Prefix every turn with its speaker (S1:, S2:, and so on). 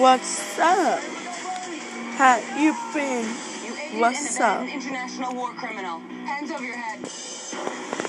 S1: What's up? How you been?
S2: You aided
S1: What's
S2: and abetted
S1: up?
S2: An international war criminal. Hands over your head.